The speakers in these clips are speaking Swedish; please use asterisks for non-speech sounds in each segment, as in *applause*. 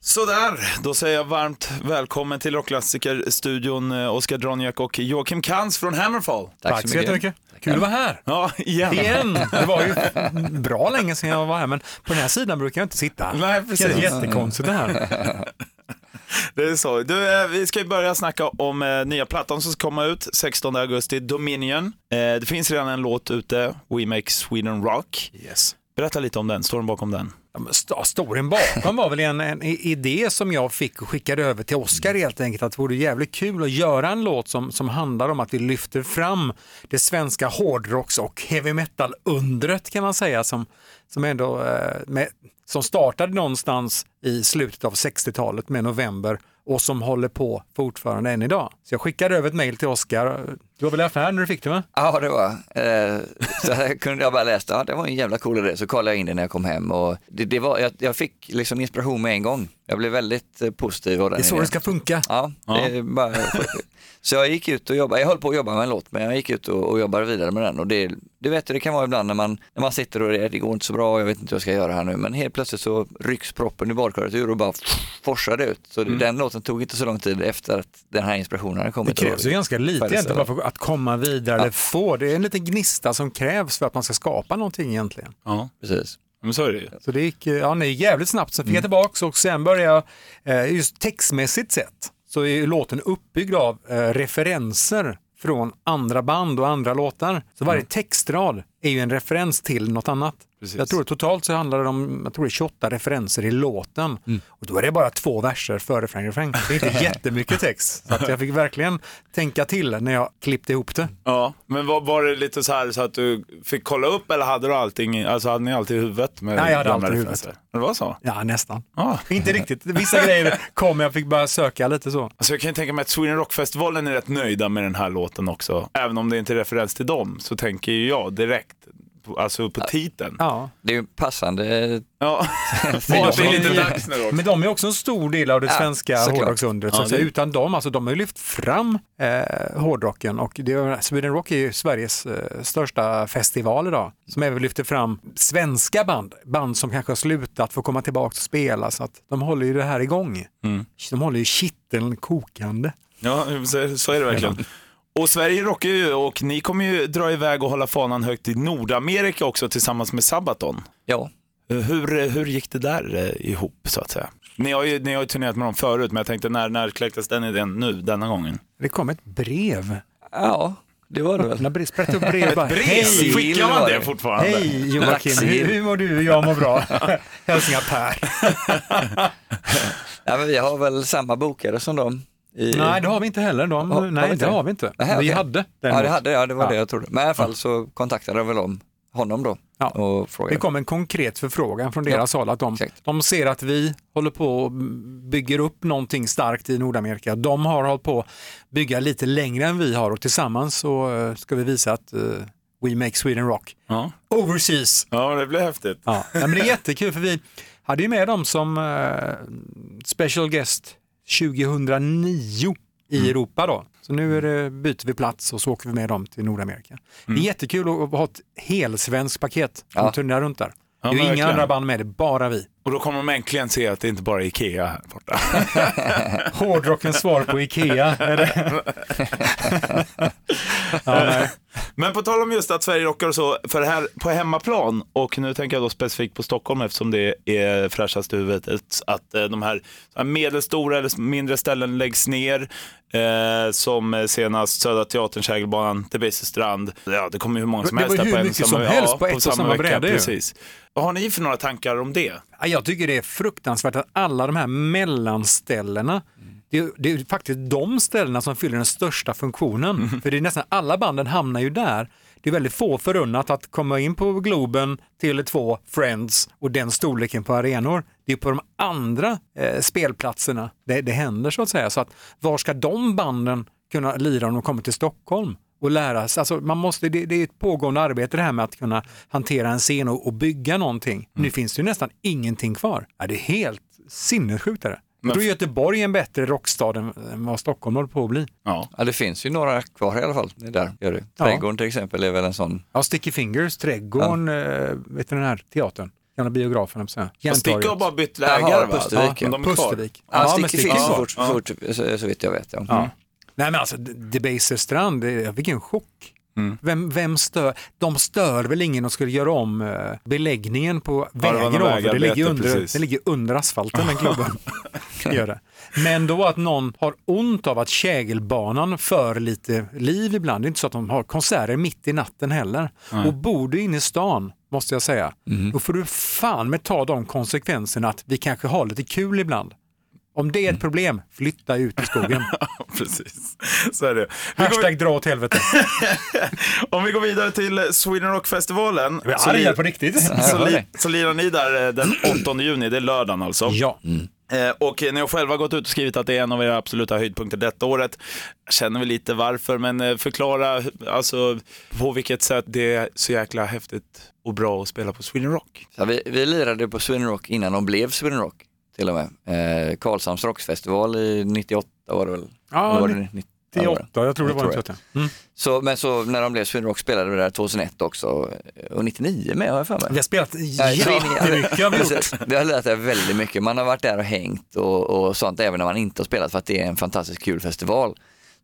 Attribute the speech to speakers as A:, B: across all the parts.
A: Sådär, då säger jag varmt välkommen till Rockklassiker-studion eh, Oskar Dronjak och Joakim Kans från Hammerfall.
B: Tack, så jättemycket. Kul att vara här.
A: Ja, igen.
B: Igen! Det var ju bra länge sedan jag var här, men på den här sidan brukar jag inte sitta.
A: Nej, precis.
B: Det är jättekonstigt det här.
A: *laughs* Det är så. Du, eh, vi ska ju börja snacka om eh, nya plattan som ska komma ut 16 augusti, Dominion. Eh, det finns redan en låt ute, We Make Sweden Rock.
B: Yes.
A: Berätta lite om den, storyn bakom den.
B: Ja, men st- Storyn bakom var väl en, en i- idé som jag fick och skickade över till Oscar helt enkelt, att det vore jävligt kul att göra en låt som, som handlar om att vi lyfter fram det svenska hårdrocks och heavy metal-undret kan man säga, som, som, ändå, eh, med, som startade någonstans i slutet av 60-talet med November och som håller på fortfarande än idag. Så jag skickade över ett mejl till Oscar. Du var väl i affären när du fick det va?
C: Ja, det var. Eh, Så här kunde jag bara läsa, ja, det var en jävla cool idé, så kollade jag in det när jag kom hem och det, det var, jag, jag fick liksom inspiration med en gång. Jag blev väldigt eh, positiv av den
B: Det är så
C: idén.
B: det ska funka.
C: Ja, det är bara... så jag gick ut och jobbade, jag höll på att jobba med en låt, men jag gick ut och, och jobbade vidare med den och det, du vet hur det kan vara ibland när man, när man sitter och det, det går inte så bra, jag vet inte hur jag ska göra här nu, men helt plötsligt så rycks proppen ur badkaret ur och bara forsar det ut. Så den låten tog inte så lång tid efter att den här inspirationen hade
B: Det
C: kommit.
B: krävs ju ganska lite egentligen bara för att komma vidare eller få. Det är en liten gnista som krävs för att man ska skapa någonting egentligen.
A: Ja,
C: Precis.
A: men så är det ju.
B: Så det gick, eh, ja, det gick jävligt snabbt. Sen fick jag tillbaka och sen började jag, eh, just textmässigt sett, så är ju låten uppbyggd av eh, referenser från andra band och andra låtar. Så varje textrad är ju en referens till något annat.
A: Precis.
B: Jag tror totalt så handlar det om jag tror det är 28 referenser i låten och då är det bara två verser före refräng, refräng. Det är inte jättemycket text. Så att jag fick verkligen tänka till när jag klippte ihop det.
A: Ja, men var, var det lite så här så att du fick kolla upp eller hade du allting, alltså hade ni allt i huvudet? Med
B: Nej, jag hade
A: gamla
B: allt i
A: referenser? Det var så?
B: Ja, nästan.
A: Ja.
B: Inte riktigt. Vissa grejer kom, jag fick börja söka lite så.
A: Alltså jag kan ju tänka mig att Sweden Rock-festivalen är rätt nöjda med den här låten också. Även om det inte är referens till dem så tänker ju jag direkt, på- alltså på titeln.
B: Ja.
C: Det är ju passande eh,
A: Ja, *laughs* och att det är lite dags nu också.
B: Men de är också en stor del av det
C: Ja,
B: svenska
C: såklart.
B: hårdrocksundret. så
A: Ja,
B: att säga.
A: det-
B: Utan dem, alltså de har ju lyft fram eh, hårdrocken och det, är- Sweden Rock är ju Sveriges eh, största festival idag som även lyfter fram svenska band, band som kanske har slutat få komma tillbaka och spela så att de håller ju det här igång. De håller ju kitteln kokande.
A: Ja, så, så är det verkligen. Och Sverige rockar ju och ni kommer ju dra iväg och hålla fanan högt i Nordamerika också tillsammans med Sabaton.
C: Ja,
A: Eh, Hur, eh, hur gick det där eh, ihop så att säga? Ni har ju, ni har ju turnerat med dem förut men jag tänkte när, när kläcktes den idén nu denna gången?
B: Det kom ett brev.
C: ja det var det väl.
B: Öppna brev, sprätta upp brev. bara, Hej!
C: Sill
A: Skickar man
C: var
A: det
C: det.
A: fortfarande?
B: Hej Joakim, hur,
C: Laxsill.
B: hur mår du? Jag mår bra. *laughs* Hälsningar Per.
C: Ja, men vi har väl samma bokare som dem. I...
B: Nej, det har vi inte heller. De,
C: Har- har
B: nej,
C: vi
B: det
C: inte det?
B: har vi inte.
C: Nähä,
B: vi
C: okej.
B: hade
C: ja,
B: däremot.
C: det hade jag, det var
B: Ja.
C: det jag trodde. Men i alla fall så kontaktade jag väl om honom då
B: Ja.
C: och frågade.
B: Det kom en konkret förfrågan från deras håll att de,
C: exakt.
B: de ser att vi håller på och bygger upp någonting starkt i Nordamerika. De har hållit på att bygga lite längre än vi har och tillsammans så eh, ska vi visa att eh, we make Sweden rock.
A: Ja.
B: Overseas!
A: ja, det blir häftigt.
B: Ja, nej, men det är jättekul för vi hade ju med dem som eh, special guest 2009 i
A: Mm.
B: Europa då. Så nu är det, byter vi plats och så åker vi med dem till Nordamerika. Det är jättekul att att ha ett helsvenskt paket som
C: Ja.
B: turnerar runt där.
A: Mm. Ja,
B: det är ju inga
A: verkligen.
B: andra band med, det är bara vi.
A: Och då kommer de äntligen se att det inte bara är Ikea här borta.
B: Hårdrockens svar på Ikea. Är det? ja, nej.
A: Men på tal om just att Sverige rockar och så, för här på hemmaplan, och nu tänker jag då specifikt på Stockholm eftersom det är fräschast i huvudet, att eh, de här så här medelstora eller mindre ställen läggs ner, eh, som senast Södra Teatern, Kägelbanan, Debisestrand. Ja, det kommer ju hur många som
B: Det
A: helst
B: var
A: där
B: hur
A: på en
B: mycket
A: samma,
B: som helst
A: ja,
B: på ett och samma
A: vecka,
B: bräde ju.
A: Precis. Vad har ni för några tankar om det?
B: Ja, Jag tycker det är fruktansvärt att alla de här mellanställena, det är, det är ju faktiskt de ställena som fyller den största funktionen. För det är nästan alla banden hamnar ju där. Det är väldigt få förunnat att komma in på Globen, Tele2, Friends och den storleken på arenor. Det är på de andra eh, spelplatserna det, det händer så att säga. Så att, var ska de banden kunna lira om de kommer till Stockholm? och lära sig. Alltså man måste, det, det är ett pågående arbete det här med att kunna hantera en scen och, och bygga någonting.
A: Mm.
B: Nu finns det ju nästan ingenting kvar. Ja, det är helt sinnessjukt. Är det.
A: Men-
B: Jag tror Göteborg är en bättre rockstad än än vad Stockholm håller på att bli.
A: Ja.
C: Ja, det finns ju några kvar i alla fall. Det är där gör det.
B: Ja.
C: Trädgården till exempel är väl en sån.
B: Ja, Sticky Fingers, Trädgården, eh, vet du den här teatern? Gamla biografen, höll jag på att säga.
A: Och Sticka har
B: Järntorget.
A: bara bytt
C: Jaha,
A: lägare va?
C: Pustervik, ja.
A: Men de är kvar.
B: Pustervik.
C: Ja,
B: Ja,
C: sticker
B: men
C: stick
B: Sticky
C: finns
B: var-
C: fort, fort, så, så vitt jag vet. Ja.
B: Ja. Nej men alltså, Debaser Strand, det- vilken chock.
A: Mm.
B: Vem, vem stör? De stör väl ingen och skulle göra om eh, beläggningen på
A: var någon
B: vägen över. Det
A: vägarbete,
B: ligger
A: precis.
B: under, det ligger under asfalten
A: *laughs*
B: den klubben. Gör det. Men då att någon har ont av att kägelbanan för lite liv ibland. Det är inte så att de har konserter mitt i natten heller. Och bor du inne i stan, måste jag säga,
A: Mm.
B: då får du fan med ta de konsekvenserna att vi kanske har lite kul ibland. Om
A: Mm.
B: det är ett problem, flytta ut
A: *laughs*
B: i skogen.
A: Precis. Så är det. Vi går,
B: Hashtag dra åt helvete.
A: om vi går vidare till Sweden Rock-festivalen.
B: *laughs* Vi är
A: så li-
B: arga på riktigt.
A: Så, li, så lirar ni där eh, den *clears throat* 8 juni, det är lördagen alltså.
B: Ja,
A: Eh, Och ni har själva gått ut och skrivit att det är en av era absoluta höjdpunkter detta året. Jag känner väl lite varför, men eh, förklara hu- alltså, på vilket sätt det är så jäkla häftigt och bra att spela på Sweden Rock.
C: Så vi, vi lirade på Sweden Rock innan de blev Sweden Rock till och med. Eh, Karlshamns rockfestival i 98 var det väl?
B: Ja,
C: Eller var det 90?
B: det är åtta. Jag tror det
C: Jag
B: var en
C: tror det.
B: trötta. Mm.
C: Så, men så när de blev Sweden Rock spelade vi där 2001 också och 99 med har jag för mig.
B: Vi har spelat
C: Nej, så-
B: jättemycket har vi gjort.
C: Precis. Det har lärt sig väldigt mycket. Man har varit där och hängt och, och sånt även när man inte har spelat för att det är en fantastiskt kul festival.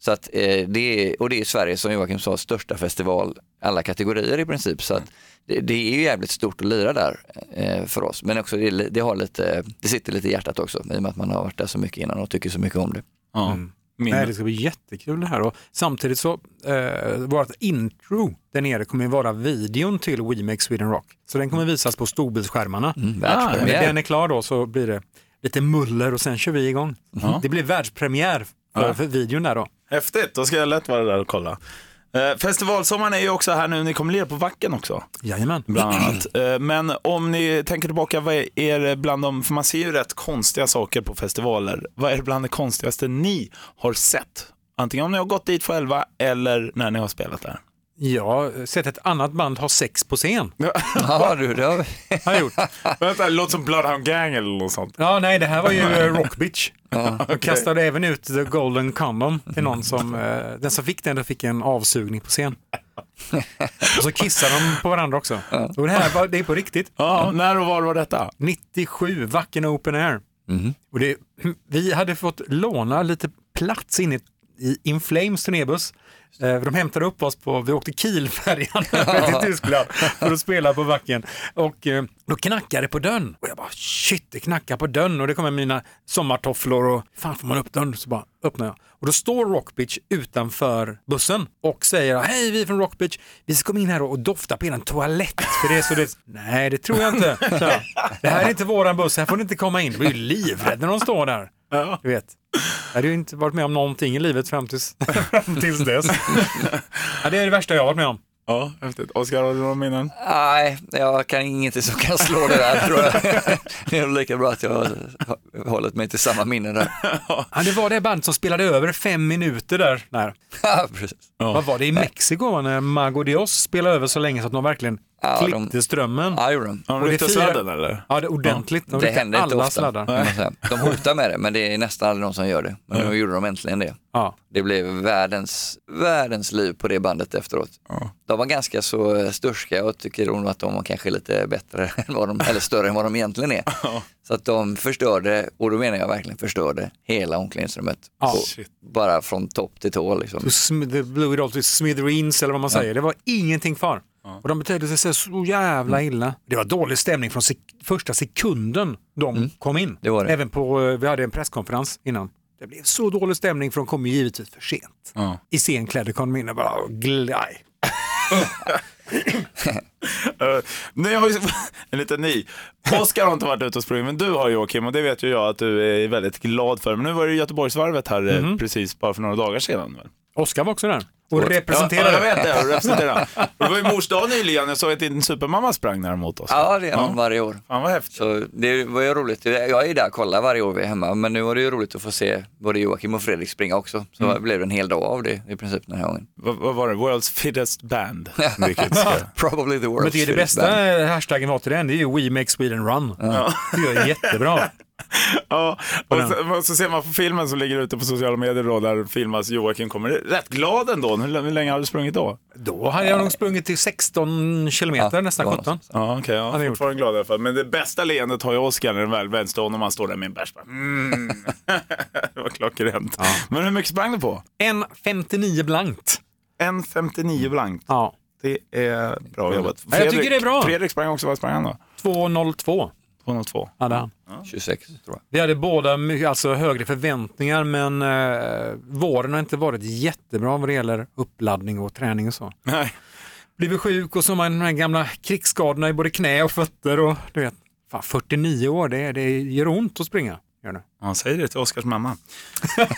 C: Så att, eh, det är, och det är Sverige som Joakim sa, största festival alla kategorier i princip. Så att det, det är ju jävligt stort att lira där eh, för oss. Men också det, det, har lite, det sitter lite i hjärtat också i och med att man har varit där så mycket innan och tycker så mycket om det.
A: Ja. Min,
B: Mm. Nej, det ska bli jättekul det här. Och samtidigt så, eh, vårt intro där nere kommer ju vara videon till We Make Sweden Rock. Så den kommer visas på storbildsskärmarna.
C: Mm,
B: När
C: Världspremiär.
B: den är klar då så blir det lite muller och sen kör vi igång. Det blir världspremiär för, för videon där då.
A: Häftigt, då ska jag lätt vara där och kolla. Eh, Festivalsommaren är ju också här nu, ni kommer lira på Vacken också.
B: Jajamän.
A: *clears throat* Bland annat. Eh, Men om ni tänker tillbaka, vad är- är det bland de, för man ser ju rätt konstiga saker på festivaler. Vad är det bland det konstigaste ni har sett? Antingen om ni har gått dit själva eller när ni har spelat där.
B: Jag har sett ett annat band ha sex på scen.
C: Ja, du, det har,
B: Har jag gjort.
A: *laughs*
C: *laughs*
A: Vänta, det låter som Bloodhound Gang eller något sånt.
B: Ja, nej, det här var ju eh, Rock Bitch. *laughs* Jag kastade även ut The Golden Condom till någon som, eh, den som fick den, den fick en avsugning på scen. Och så kissade de på varandra också. Och det här var, det är på riktigt.
A: Ja, när och var var detta?
B: 97, Vacken Open Air. Och det, vi hade fått låna lite plats inne i In Flames turnébuss. Eh, De hämtade upp oss på, vi åkte Kielfärjan *laughs* över till Tyskland för att spela på backen. Och eh, då knackade det på dörren. Och jag bara shit, det knackar på dörren. Och det kommer mina sommartofflor och fan får man upp dörren? Så bara öppnar jag. Och då står Rockbitch utanför bussen och säger hej vi är från Rockbitch. Vi ska komma in här och dofta på eran toalett. För det är så det *laughs* Nej det tror jag *laughs* inte. sa jag. Det här är inte våran buss, här får ni inte komma in. Jag blir ju livrädd när de står där. Du vet. Jag hade ju inte varit med om någonting i livet fram tills, fram *laughs* tills dess. ja, det är det värsta jag har varit med om.
A: Ja, häftigt. Oskar, har du några minnen?
C: nej, jag kan ingenting som kan slå det där tror jag. *laughs* Det är nog lika bra att jag har hållit mig till samma minnen där. *laughs*
B: Ja, det var det band som spelade över fem minuter där. Nej.
C: Ja, precis.
B: Vad var det i Mexiko va, när Mago Dios spelade över så länge så att de verkligen
C: Ja, de-
B: klippte strömmen?
C: Ja, gjorde de.
A: Har
B: Och
A: du
B: det
A: ryckt
B: firar-
A: sladden eller?
B: Ja, det är ordentligt. De
C: Det
B: ryckte
C: händer inte
B: alla
C: ofta. kan
B: sladdar.
C: man säga. De hotar med det, men det är nästan aldrig någon som gör det. Men nu gjorde de äntligen det.
B: Ja.
C: Det blev världens, världens liv på det bandet efteråt. De var ganska så eh, sturska och tycker nog att de var kanske lite bättre, *laughs* än vad de, eller större än vad de egentligen är. Så att de förstörde, och då menar jag verkligen förstörde, hela omklädningsrummet.
B: Ja.
C: Och Bara från topp till tå liksom.
B: Så sm- The Blue Dolls till Smithereens eller vad man säger. Det var ingenting kvar. Och de betedde sig så- så jävla
C: Mm.
B: illa. Det var dålig stämning från sek- första sekunden de kom in.
C: Mm. Det var det.
B: Även på, eh, vi hade en presskonferens innan. Det blev så dålig stämning för de kom ju givetvis för sent.
A: Ja.
B: I scenkläder kom de in och bara glaj.
A: Eh, nej, jag har ju, *laughs* en liten ny. Oskar har inte varit ute och sprungit, men du har Joakim och det vet ju jag att du Mhm. är väldigt glad för. Men nu var det ju Göteborgsvarvet här eh, precis bara för några dagar sedan. Väl?
B: Oskar var också där. och representerar
A: Ja, jag vet det, och representerar. Och Det var ju mors dag nyligen, jag såg att din supermamma sprang där mot oss.
C: Ja, det är han varje år.
A: Fan vad häftigt.
C: Så det var ju roligt. Jag är där och kollar varje år vi är hemma, men nu var det ju roligt att få se både Joakim och Fredrik springa också. Så det blev en hel dag av det i princip den här gången.
A: Vad, vad var det? World's fittest band. Vilket ska...
C: Probably the world's
B: Men det, är det
C: fittest
B: bästa
C: band.
B: hashtaggen var till den, det är ju We Make Sweden Run. Det gör jättebra.
A: ja, och så, så ser man på filmen som ligger ute på sociala medier då, där filmas Joakim kommer. Rätt glad ändå. Hur, hur länge har du sprungit då?
B: Då hade jag nog sprungit till 16 kilometer,
C: Ja, det
B: nästan
C: var
B: 17.
A: Ja, okej.
B: Han har
A: ja,
B: gjort.
A: fortfarande glad i alla fall. Men det bästa leendet har ju Oscar när den väl vänds till honom. Han står där med en bärs. bara, Mm. *laughs* det var klockrent. Men hur mycket sprang du på?
B: 1.59 blankt.
A: 1.59 blankt.
B: Ja.
A: Det är bra jobbat.
B: Ja, jag tycker det är bra.
A: Fredrik sprang också. Vad sprang han då?
B: 2.02
A: 202.
B: hade han.
C: 26 tror jag.
B: Vi hade båda my- alltså, högre förväntningar men eh, våren har inte varit jättebra vad det gäller uppladdning och träning och så.
A: Nej.
B: Blivit sjuk och så har man de här gamla krigsskadorna i både knä och fötter och du vet, fan, 49 år, det, det gör ont att springa. Gör det.
A: Han säger det till Oskars mamma. *laughs*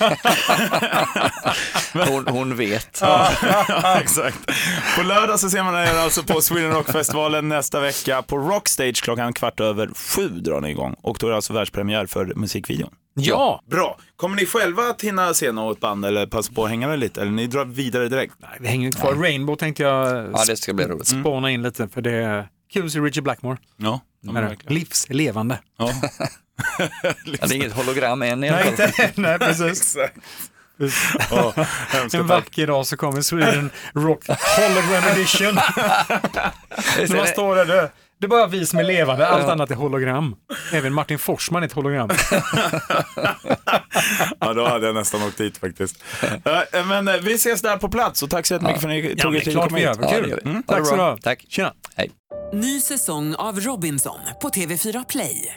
B: *laughs*
C: Hon, hon vet.
A: Exakt. På lördag så ser man er alltså på Sweden Rock-festivalen nästa vecka på Rockstage klockan kvart över sju drar ni igång. Och då är det alltså världspremiär för musikvideon.
B: Ja,
A: Bra. Kommer ni själva att hinna se något band eller passa på att hänga med lite? Eller ni drar vidare direkt?
B: vi hänger ju kvar. Rainbow tänkte jag
C: Ja, det ska bli roligt.
B: *laughs* sp- spåna in lite för det är kul att se Richie Blackmore.
A: Ja, ja men
B: Är det?
A: verkligen.
B: Livs levande.
A: Ja.
C: Ja, det är inget hologram än i alla fall. *laughs*
B: Nej, precis.
A: Exakt. Ja, hemska
B: En
A: tack.
B: vacker dag så kommer Sweden Rock Hologram
C: *laughs*
B: Edition. Så man står där, det, det är bara vi som är levande, allt annat är hologram. Även Martin Forsman är ett hologram.
A: Ja, då hade jag nästan åkt dit faktiskt. *laughs* Eh, Men eh, vi ses där på plats och tack så jättemycket för att ni tog er tid att komma hit.
B: Vad
C: Ja, det
B: kul.
C: gör vi.
B: Mm,
C: Ha det
B: tack så
C: bra.
B: du
C: Tack.
B: Tjena.
C: Hej.
D: Ny säsong av Robinson på TV4 Play.